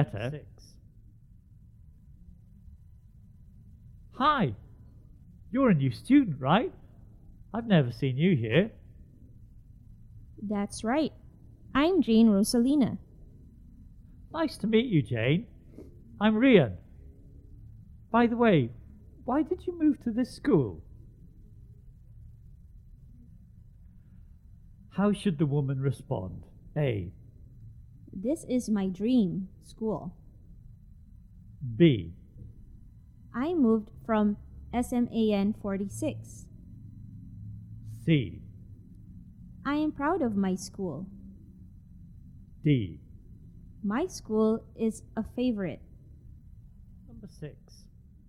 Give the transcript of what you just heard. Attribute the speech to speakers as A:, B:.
A: Okay.
B: six. Hi, you're a new student, right? I've never seen you here.
C: That's right. I'm Jane Rosalina.
B: Nice to meet you, Jane. I'm Rian. By the way, why did you move to this school? How should the woman respond? A.
C: This is my dream school.
B: B.
C: I moved from SMAN 46.
B: C.
C: I am proud of my school.
B: D.
C: My school is a favorite.
B: Number six.